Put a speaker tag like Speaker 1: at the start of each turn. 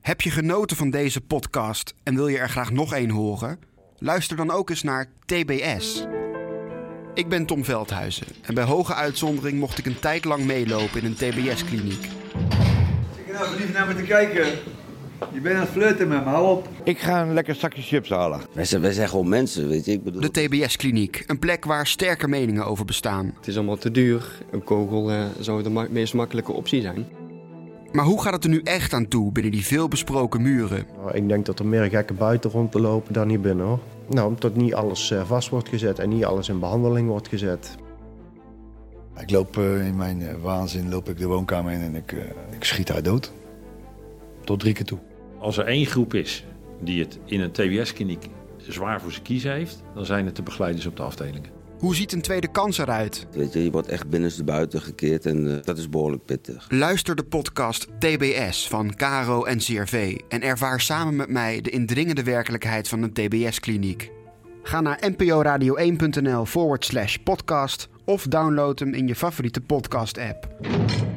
Speaker 1: Heb je genoten van deze podcast en wil je er graag nog één horen? Luister dan ook eens naar TBS. Ik ben Tom Veldhuizen en bij hoge uitzondering mocht ik een tijd lang meelopen in een TBS-kliniek.
Speaker 2: Ik ben nou verliefd naar me te kijken. Je bent aan het flirten met me, hou op.
Speaker 3: Ik ga een lekker zakje chips halen.
Speaker 4: Wij zijn, wij zijn gewoon mensen, weet je. Ik bedoel...
Speaker 1: De TBS-kliniek, een plek waar sterke meningen over bestaan.
Speaker 5: Het is allemaal te duur. Een kogel eh, zou de ma- meest makkelijke optie zijn.
Speaker 1: Maar hoe gaat het er nu echt aan toe binnen die veelbesproken muren?
Speaker 6: Nou, Ik denk dat er meer gekken buiten rond te lopen dan hier binnen hoor. Nou, omdat niet alles eh, vast wordt gezet en niet alles in behandeling wordt gezet.
Speaker 7: Ik loop eh, in mijn eh, waanzin loop ik de woonkamer in en ik, eh, ik schiet haar dood. Tot drie keer toe.
Speaker 8: Als er één groep is die het in een TBS-kliniek zwaar voor zijn kiezen heeft, dan zijn het de begeleiders op de afdelingen.
Speaker 1: Hoe ziet een tweede kans eruit?
Speaker 4: Weet je, je wordt echt binnenstebuiten gekeerd en eh, dat is behoorlijk pittig.
Speaker 1: Luister de podcast TBS van Caro en CRV en ervaar samen met mij de indringende werkelijkheid van een TBS-kliniek. Ga naar nporadio1.nl forward slash podcast of download hem in je favoriete podcast-app.